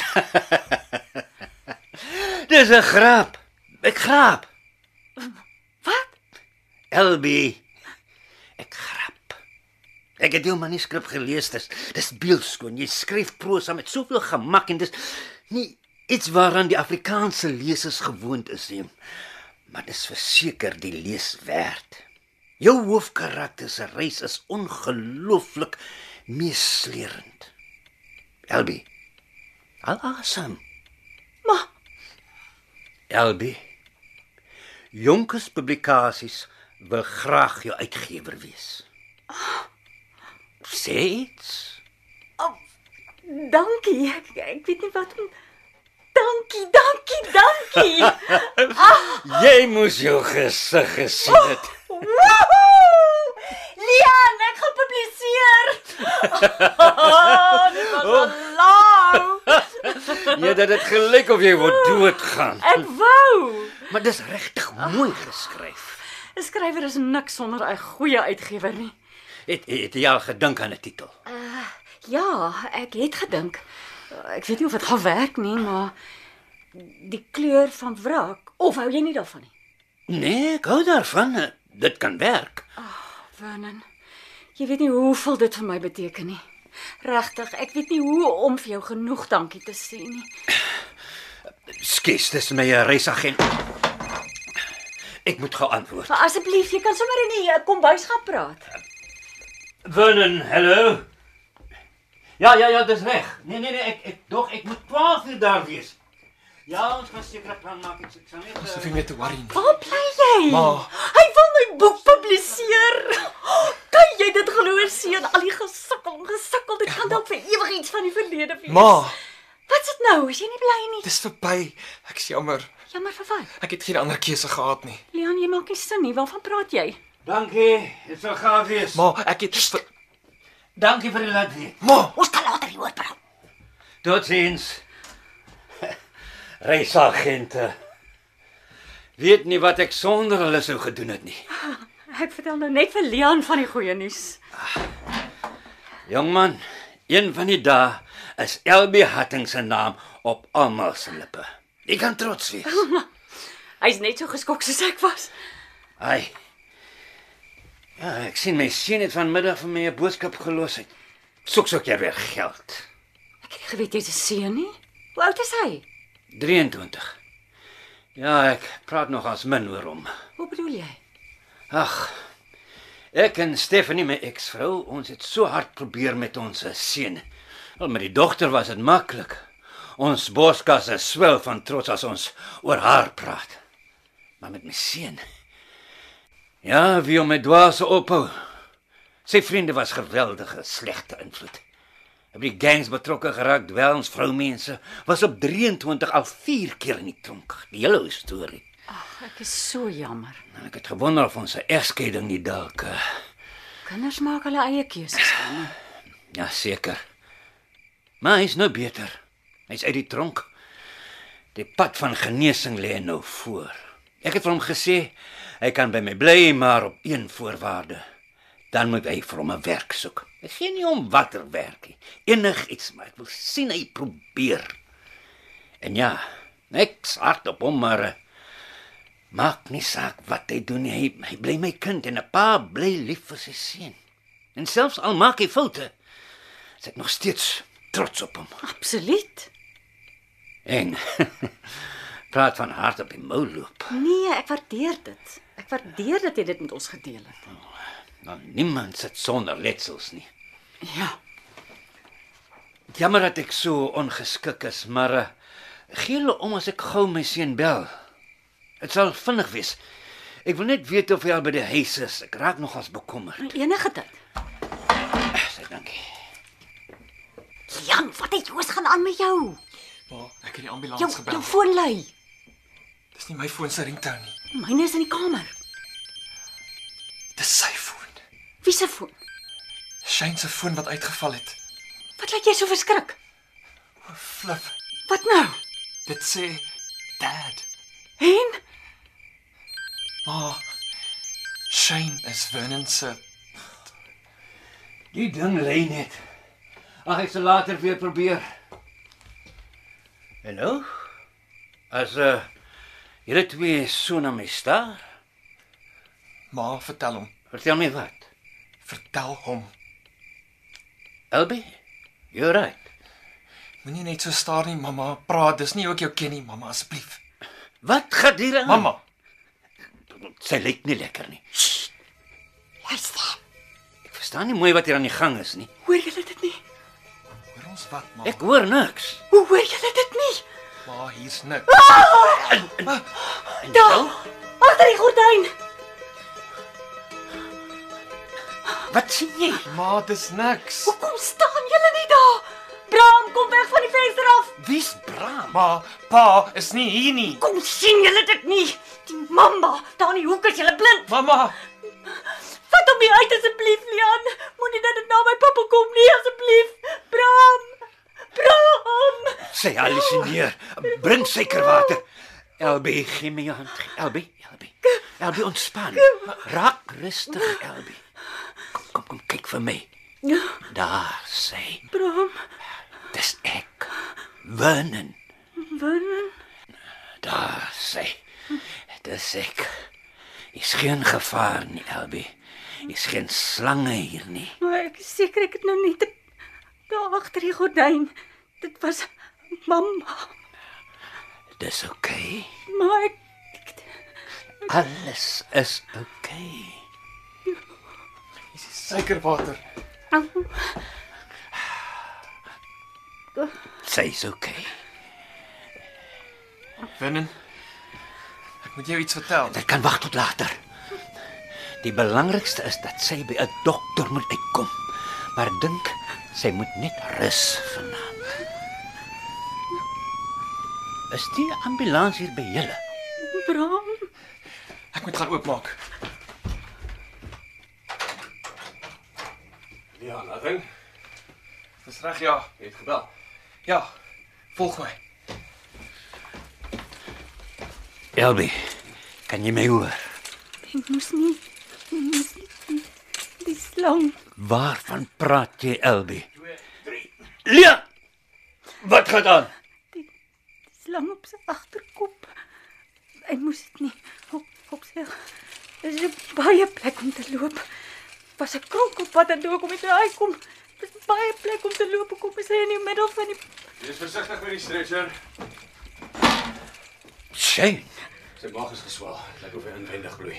B: Okay.
H: Dis 'n grap. Ek grap.
B: Wat?
H: LB. Ek grap. Ek het jou manuskrip gelees. Dis dis beeldskoon. Jy skryf prosa met soveel gemak en dis nie iets waaraan die Afrikaanse lesers gewoond is nie. Maar dis verseker die lees werd. Jou hoofkarakter se reis is ongelooflik meeslerend. LB. Al asem.
B: Maar
H: LB. Jonkes Publikasies wil graag jou uitgewer wees. Sê iets.
B: Oh, dankie. Ek, ek weet nie wat om Dankie, dankie, dankie.
H: [LAUGHS] Ah. Jy moes jou gesig gesien het.
B: Woehoe! Leon, ek gaan publiseer.
H: [LAUGHS]
B: Oh, Dit was
H: [LAUGHS]
B: laag.
H: Nee, dit het gelyk of jy wou doodgaan.
B: Ek wou.
H: Maar dis regtig mooi geskryf.
B: 'n Skrywer is niks sonder 'n goeie uitgewer nie.
H: Het het jy al gedink aan 'n titel?
B: Ja, ek het gedink. Ek weet nie of dit gaan werk nie, maar die kleur van wrak, of hou jy nie daarvan nie?
H: Nee, ek hou daarvan. Dit kan werk.
B: Vernon, jy weet nie hoeveel dit vir my beteken nie. Regtig, ek weet nie hoe om vir jou genoeg dankie te sê nie.
H: Skus, dis my eh, reisagent. Ek moet gou antwoord.
B: Maar asseblief, jy kan sommer in die eh, kombuis gaan praat.
H: Vernon, hallo. Ja, ja, ja, dis reg. Nee, nee, nee, ek ek dog ek moet 12 uur daar wees. Ja, ons gaan seker 'n plan maak. Ek ek sal net
C: Dis
H: eh,
C: nie meer te worry nie.
B: Waar bly jy?
C: Ma.
B: Hy wil my boek publiseer. Kan jy dit glo seun? Al die gesukkel, gesukkel, dit kan dalk vir ewig iets van die verlede wees.
C: Ma,
B: Wat's dit nou? Is jy nie bly nie?
C: dis verby. Ek's jammer.
B: Jammer vir wat?
C: Ek het geen ander keuse gehad nie.
B: Leon, jy maak nie sin nie. Waarvan praat jy?
H: Dankie. Dit sal gaaf wees.
C: Ma, ek het ver...
H: Dankie vir die laat weet.
C: Ma,
B: Ons kan later hieroor praat.
H: Totsiens. Reisagente. Weet nie wat ek sonder hulle sou gedoen het nie.
B: Ek vertel nou net vir Leon van die goeie nuus.
H: Jongman, een van die dae is LB Hatting se naam op almal se lippe. Ek kan trots wees.
B: Hy's net so geskok soos ek was.
H: Ai. Ja, ek sien my seun het vanmiddag vir my 'n boodskap gelos het. Soek soek jy weer geld.
B: Ek het nie geweet jy's 'n seun nie. Hoe oud is hy?
H: 23. Ja, ek praat nog as min oor hom.
B: Hoe bedoel jy?
H: Ag. Ek en Stephanie my eksvrou, ons het so hard probeer met ons seun. Wel met die dogter was dit maklik. Ons borskasse swel van trots as ons oor haar praat. Maar met my seun. Ja, wie hom met dwaas ophou. Sy vriende was geweldige slegte invloed.
G: By die gangs betrokke geraak, dwelms, vroumense, was op 23 al 4 keer in die tronk. Die hele storie.
B: Ag, ek is so jammer.
G: En ek het gewonder of ons se egskeiding nie dalk eh,
B: Kinders maak hulle eie keuses dan. nie?
G: ja seker. Maar hy's nou beter. Hy's uit die tronk. Die pad van genesing lê nou voor. Ek het vir hom gesê hy kan by my bly, maar op een voorwaarde. Dan moet hy vir hom 'n werk soek. Ek gee nie om watter werk nie. Enigiets, maar ek wil sien hy probeer. En ja, ek's hard op hom, maar eh, Maak nie saak wat hy doen nie, hy, hy bly my kind en 'n pa bly lief vir sy seun. En selfs al maak hy foute, is ek nog steeds trots op hom.
B: Absoluut.
G: En [LAUGHS] praat van hart op die mou loop.
B: Nee, ek waardeer dit. Ek waardeer dat jy dit met ons gedeel het.
G: Nou niemand sit sonder letsels nie.
B: Ja.
G: Jammer dat ek so ongeskik is, maar uh, gee hulle om as ek gou my seun bel. Dit sal vinnig wees. Ek wil net weet of hy al by die huis is. Ek raak nogals bekommerd.
B: Enige tyd.
G: Sy dankie.
E: Jan, wat het Joos gaan aan met jou?
C: Maar ek het die
E: Jou
C: ambulans
E: jou
C: gebel.
E: foon lui.
C: Dis nie my foon se ringtone nie.
E: Myne is in die kamer.
C: Dis sy foon.
E: Wie se foon?
C: Shane se foon wat uitgeval het.
E: Wat laat jy so verskrik?
C: O, Flip,
E: Wat nou?
C: dit sê dad.
E: En
C: Maar Shane is Vernon se
G: Die ding lê net. Ag ek sal later weer probeer. Hallo? As uh julle twee so na my staar,
C: ma vertel hom.
G: vertel my wat.
C: Vertel hom.
G: Elbie? You're right.
C: Moenie net so staar nie, mamma. Praat, dis nie ook jou ken nie, mamma, asseblief.
G: Wat gaan hier aan?
C: Mamma,
G: sy lyk nie lekker nie.
E: luister.
G: Ek verstaan nie mooi wat hier aan die gang is nie.
E: Hoor julle dit nie?
C: hoor ons wat, ma?
G: Ek hoor niks.
E: Hoe hoor julle dit nie?
C: Ma, hier's niks.
G: Ah!
E: Daar. Agter die gordyn.
G: Wat sien jy?
C: Ma, dis niks.
E: Hoekom staan julle nie daar? Bram, kom weg van die venster af.
G: Wie's Bram?
C: Ma, pa is nie hier nie.
E: Kom sien julle dit nie? Die mamma, daar in die hoek is julle blind.
C: Mamma,
E: Vat hom hier uit asseblief, Leon. Moenie dat dit na my pappa kom nie asseblief. Bram. Bram.
G: Sy hallusineer. Bring suikerwater. Elbie, gee my jou hand. Elbie, Elbie. Elbie ontspan. Raak rustig, Elbie. Kom, kom, kom kyk vir my. Daar sê.
E: Bram.
G: Dis ek. Vernon. Vernon. Daar sê. Dis ek. Is geen gevaar nie, Elbie. Is geen slange hier nie.
E: Maar ek is seker ek het nou net daar agter die gordyn. Dit was mamma.
G: Dis oukei. Okay.
E: Maar ek
G: Alles is oukei. Okay.
C: dis suikerwater.
G: Sy's oukei. Okay.
C: Vernon, ek moet jou iets vertel.
G: Dit kan wag tot later. Die belangrikste is dat sy by 'n dokter moet uitkom. Maar dink, sy moet net rus vanaand. Is die ambulans hier by julle?
E: Bram.
C: Ek moet gaan oopmaak. Ja, Nathan. Dis reg ja, jy het gebel. Ja, volg my.
G: Elbie, kan jy my hoor?
E: Ek moes nie. Ek moes nie. Dis lank.
G: Waarvan praat jy, Elbie? 2 3 Leon! Wat gaan aan?
E: slang op sy agterkop. Hy moes dit nie op, op sy. Dit is baie plek om te loop. Was 'n kronk op wat dan toe kom dit uitkom. Dis baie plek om te loop. Hoe Kom ons hy in die middel van die
I: Wees versigtig met die stretcher.
G: Shane,
I: Sy maag is geswaal. Dit lyk of hy inwendig bloei.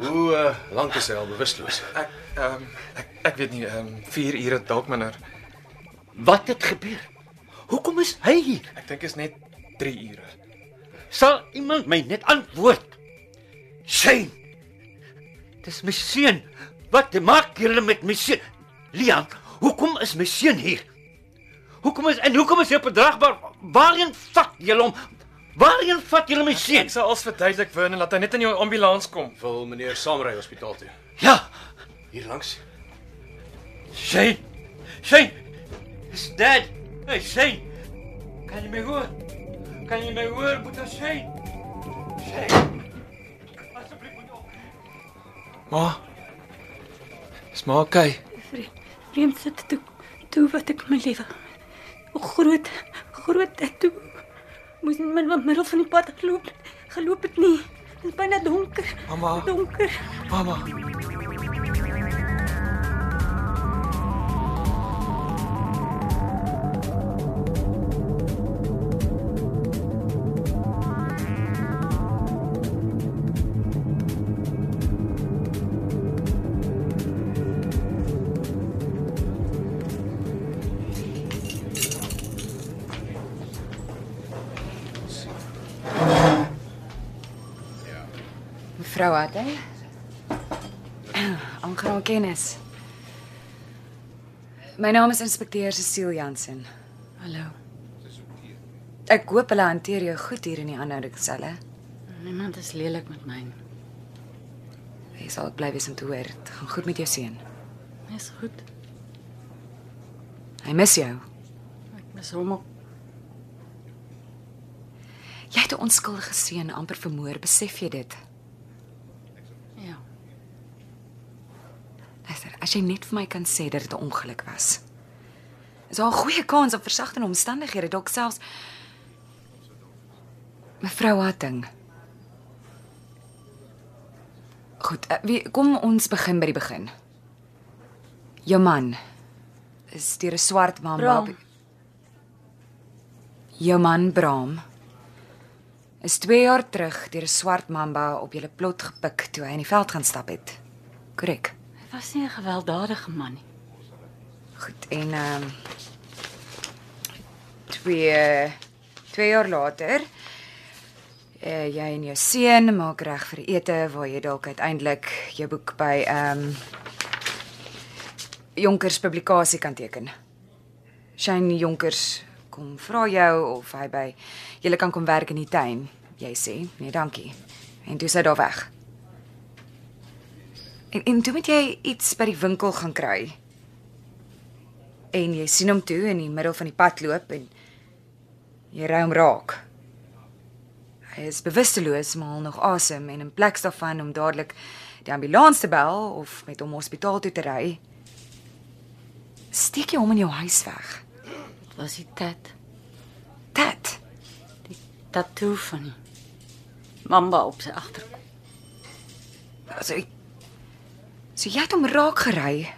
I: Hoe uh, lank is hy al bewusteloos?
C: Ek ehm um, ek ek weet nie ehm um, 4 ure dalk minder.
G: wat het gebeur? Hoekom is hy hier?
C: Ek dink is net 3 ure.
G: Sal iemand my net antwoord? Shane. Dis my seun. Wat maak julle met my seun? Lian, hoekom is my seun hier? Hoekom is en hoekom is dit bedragbaar? Waarheen vat julle hom? Waarheen vat julle my seun?
C: Ek sal als verduidelik Vernon dat hy net in jou ambulans kom.
J: Wil meneer saamry hospitaal toe.
G: Ja,
J: Hier langs.
G: Shane. Shane. Is dead. Hey Shane. Kan jy my hoor? Kan jy my hoor, Boeta Shane? Shane. Asseblief moet op.
C: Ma. Is maar okay.
E: Vreemd sit toe toe wat ek my lewe. O groot groot ek toe moes in my middel van die pad geloop. Geloop het nie. Dit is byna donker.
C: Mamma.
E: Donker.
C: Mamma.
A: Mevrou Adey. [CLEARS THROAT] Aangenaam kennis. My naam is inspekteur Cecile Jansen.
E: Hallo.
A: Ek hoop hulle hanteer jou goed hier in die aanhoudingsselle.
E: Niemand is lelik met my.
A: Jy sal ook bly wees om te hoor. Dit gaan goed met jou seun.
E: Dis goed.
A: Hy mis jou.
E: Ek mis hom ook.
A: Jy het 'n onskuldige seun amper vermoor, besef jy dit?
E: Ja.
A: Luister, as jy net vir my kan sê dat dit 'n ongeluk was. Is daar 'n goeie kans op versagtende omstandighede, dalk selfs Mevrou Hatting. Goed, eh, wie kom ons begin by die begin. Jou man is deur 'n swart man
E: Bram.
A: babe- Jou man Braam is 2 jaar terug deur 'n swart mamba op julle plot gepik toe hy in die veld gaan stap het. Korrek.
E: Hy was nie 'n gewelddadige man nie.
A: Goed en ehm um, 2 2 jaar later uh, jy en jou seun maak reg vir ete waar jy dalk uiteindelik jou boek by ehm um, Jonkers publikasie kan teken. Shane Jonkers kom vra jou of hy by julle kan kom werk in die tuin. Jy sê, "Nee, dankie." En toe sit daar weg. En en toe moet jy iets by die winkel gaan kry en jy sien hom toe in die middel van die pad loop en jy ry hom raak. Hy is bewusteloos maar haal nog asem en in plaas daarvan om dadelik die ambulans te bel of met hom hospitaal toe te ry, steek jy hom in jou huis weg.
E: Dit was die tat.
A: Dit.
E: Tattoo van die mamba op sy agterkop.
A: Also so jy het hom raak gery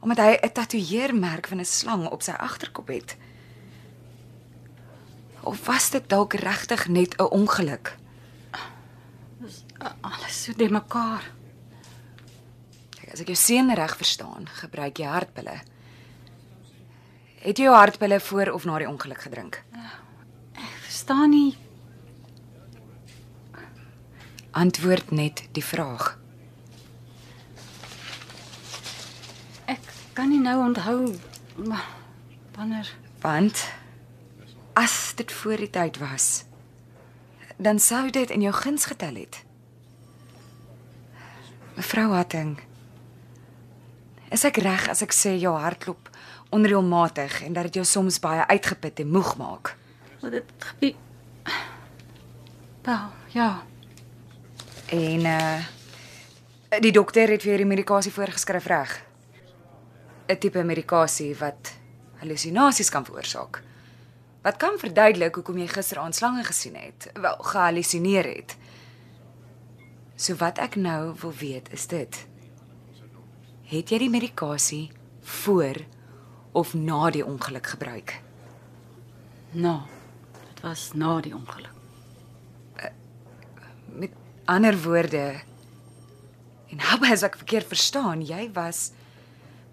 A: omdat hy 'n tatoeëermerk van 'n slang op sy agterkop het. Of was dit dalk regtig net 'n ongeluk?
E: Dis a- alles so de mekaar.
A: Kyk, as ek jou seun reg verstaan, gebruik jy hartpille. Het jy jou hartpille voor of na die ongeluk gedrink?
E: Ek verstaan nie.
A: Antwoord net die vraag.
E: Ek kan nie nou onthou maar wanneer
A: Want as dit voor die tyd was, dan sou dit in jou guns getel het. Mevrou Hatting, is ek reg as ek sê jou hartklop onreëlmatig en dat dit jou soms baie uitgeput en moeg maak?
E: wat dit gebeur. Wel, ja.
A: En uh die dokter het vir jou die medikasie voorgeskryf reg. 'n Tipe medikasie wat hallusinasies kan veroorsaak. Wat kan verduidelik hoekom jy gisteraand slange gesien het, wel gehallusineer het. So wat ek nou wil weet is dit. Het jy die medikasie voor of na die ongeluk gebruik?
E: Nou. Dit was na die ongeluk.
A: Met ander woorde en nou as ek verkeerd verstaan, jy was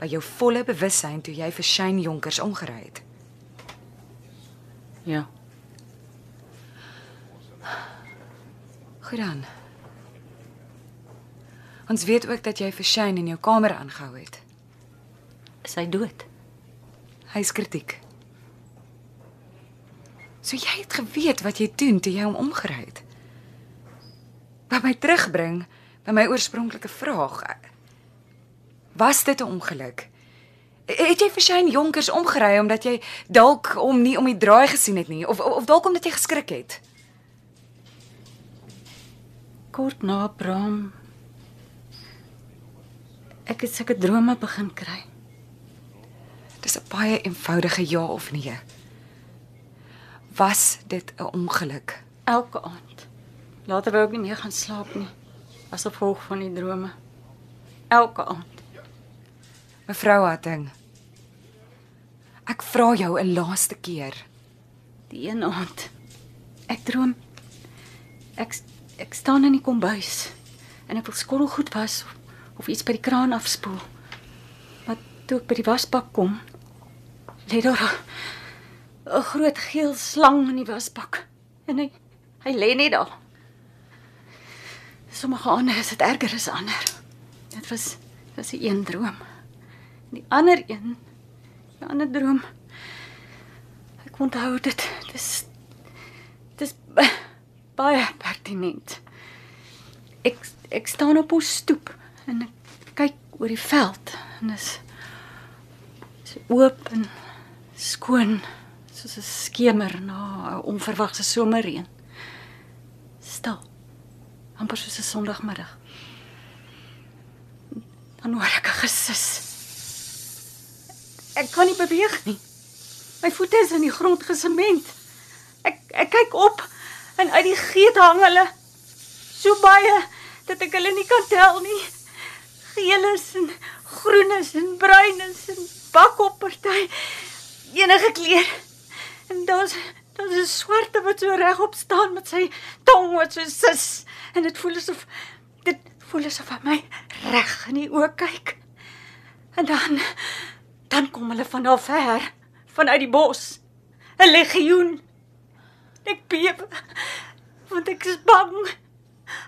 A: by jou volle bewussyn toe jy vir Shane Jonkers omgery het.
E: Ja.
A: Goed dan. Ons weet ook dat jy vir Shane in jou kamer aangehou het.
E: Is hy dood?
A: Hy is kritiek.
K: So jy het geweet wat jy doen toe jy hom omgery het. Wat my terugbring by my oorspronklike vraag. Was dit 'n ongeluk? Het jy vir Shane Jonkers omgery omdat jy dalk hom nie om die draai gesien het nie of of, of dalk omdat jy geskrik het?
E: Kort na Bram ek het sulke drome begin kry.
K: Dis 'n baie eenvoudige ja of nee. Was dit 'n ongeluk?
E: Elke aand. Later wou ek nie meer gaan slaap nie as gevolg van die drome. Elke aand.
K: Mevrou Hatting. Ek vra jou 'n laaste keer.
E: Die een aand. Ek droom ek ek staan in die kombuis en ek wil skottelgoed was of, of iets by die kraan afspoel. Maar toe ek by die wasbak kom, lê daar 'n- 'n groot geel slang in die wasbak en hy hy lê net daar. Sommige aande is dit erger as ander. Dit was dit was 'n een droom. En die ander een, die ander droom. Ek onthou dit. Dis dis ba- baie pertinent. Ek ek staan op ons stoep en ek kyk oor die veld en dis is oop en skoon soos 'n skemer na 'n onverwagse somerreën. Stil. amper soos 'n Sondagmiddag. Dan hoor ek 'n gesis. Ek kan nie beweeg nie. My voete is in die grond gesement. Ek ek kyk op en uit die geet hang hulle so baie dat ek hulle nie kan tel nie. Geeles en groenes en bruines en bakopparty enige kleur. En daar's daar's 'n swarte wat so regop staan met sy tong wat so sis en dit voel asof dit voel asof hy my reg in die oë kyk. En dan dan kom hulle van daar ver, vanuit die bos. 'n Legioen. Ek bewe want ek is bang.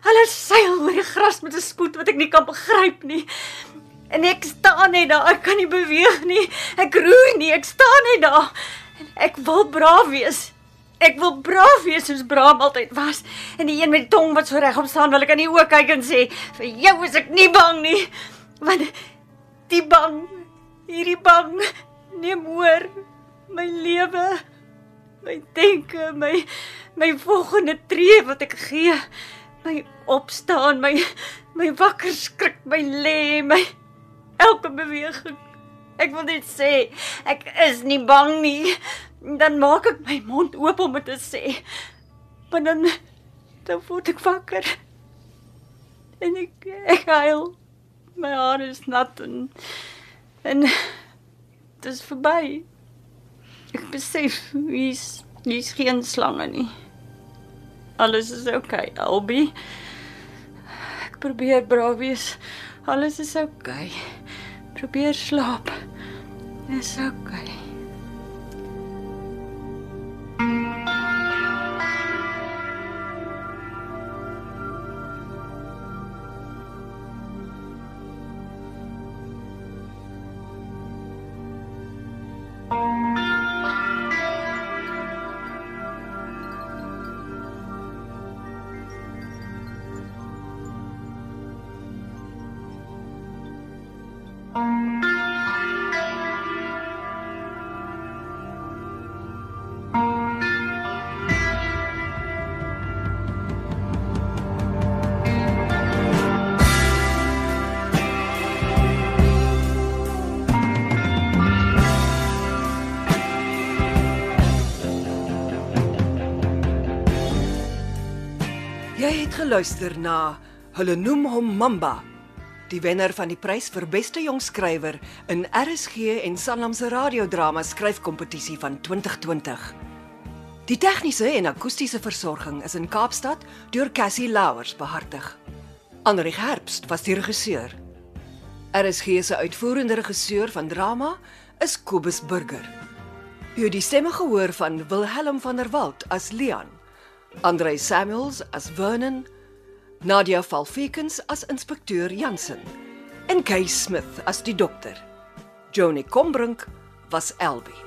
E: Hulle seil oor die gras met 'n spoed wat ek nie kan begryp nie. En ek staan net daar, ek kan nie beweeg nie. Ek roer nie, ek staan net daar. En ek wil braaf wees. Ek wil braaf wees soos Braam altyd was. En die een met die tong wat so regop staan, wil ek aan die oë kyk en sê, "Vir jou is ek nie bang nie." Want die bang, hierdie bang neem hoor my lewe my denke, my my volgende tree wat ek gee, my opstaan, my my wakker skrik, my lê, my elke beweging. Ek wil net sê, ek is nie bang nie. Dan maak ek my mond oop om dit te sê. Maar dan dan word ek wakker. En ek ek huil. My hare is nat en en dit is verby. Ek besef hier's hier's geen slange nie. Alles is oukei, okay, Albie. Ek probeer braaf wees. Alles is oukei. Okay. Probeer slaap. Dis oukei. Okay.
A: Jy het geluister na Hulle noem hom Mamba, die wenner van die prys vir beste jong skrywer in RSG en Sanlam se radiodrama skryfkompetisie van 2020. Die tegniese en akoestiese versorging is in Kaapstad deur Cassie Louwers behartig. Andri Herbst was die regisseur. RSG se uitvoerende regisseur van drama is Kobus Burger. Jy het die stemme gehoor van Wilhelm van der Walt as Leon, Andre Samuels as Vernon, Nadia Valfikens as inspekteur Jansen en Kay Smith as die dokter. Johnny Combrink was Elbie.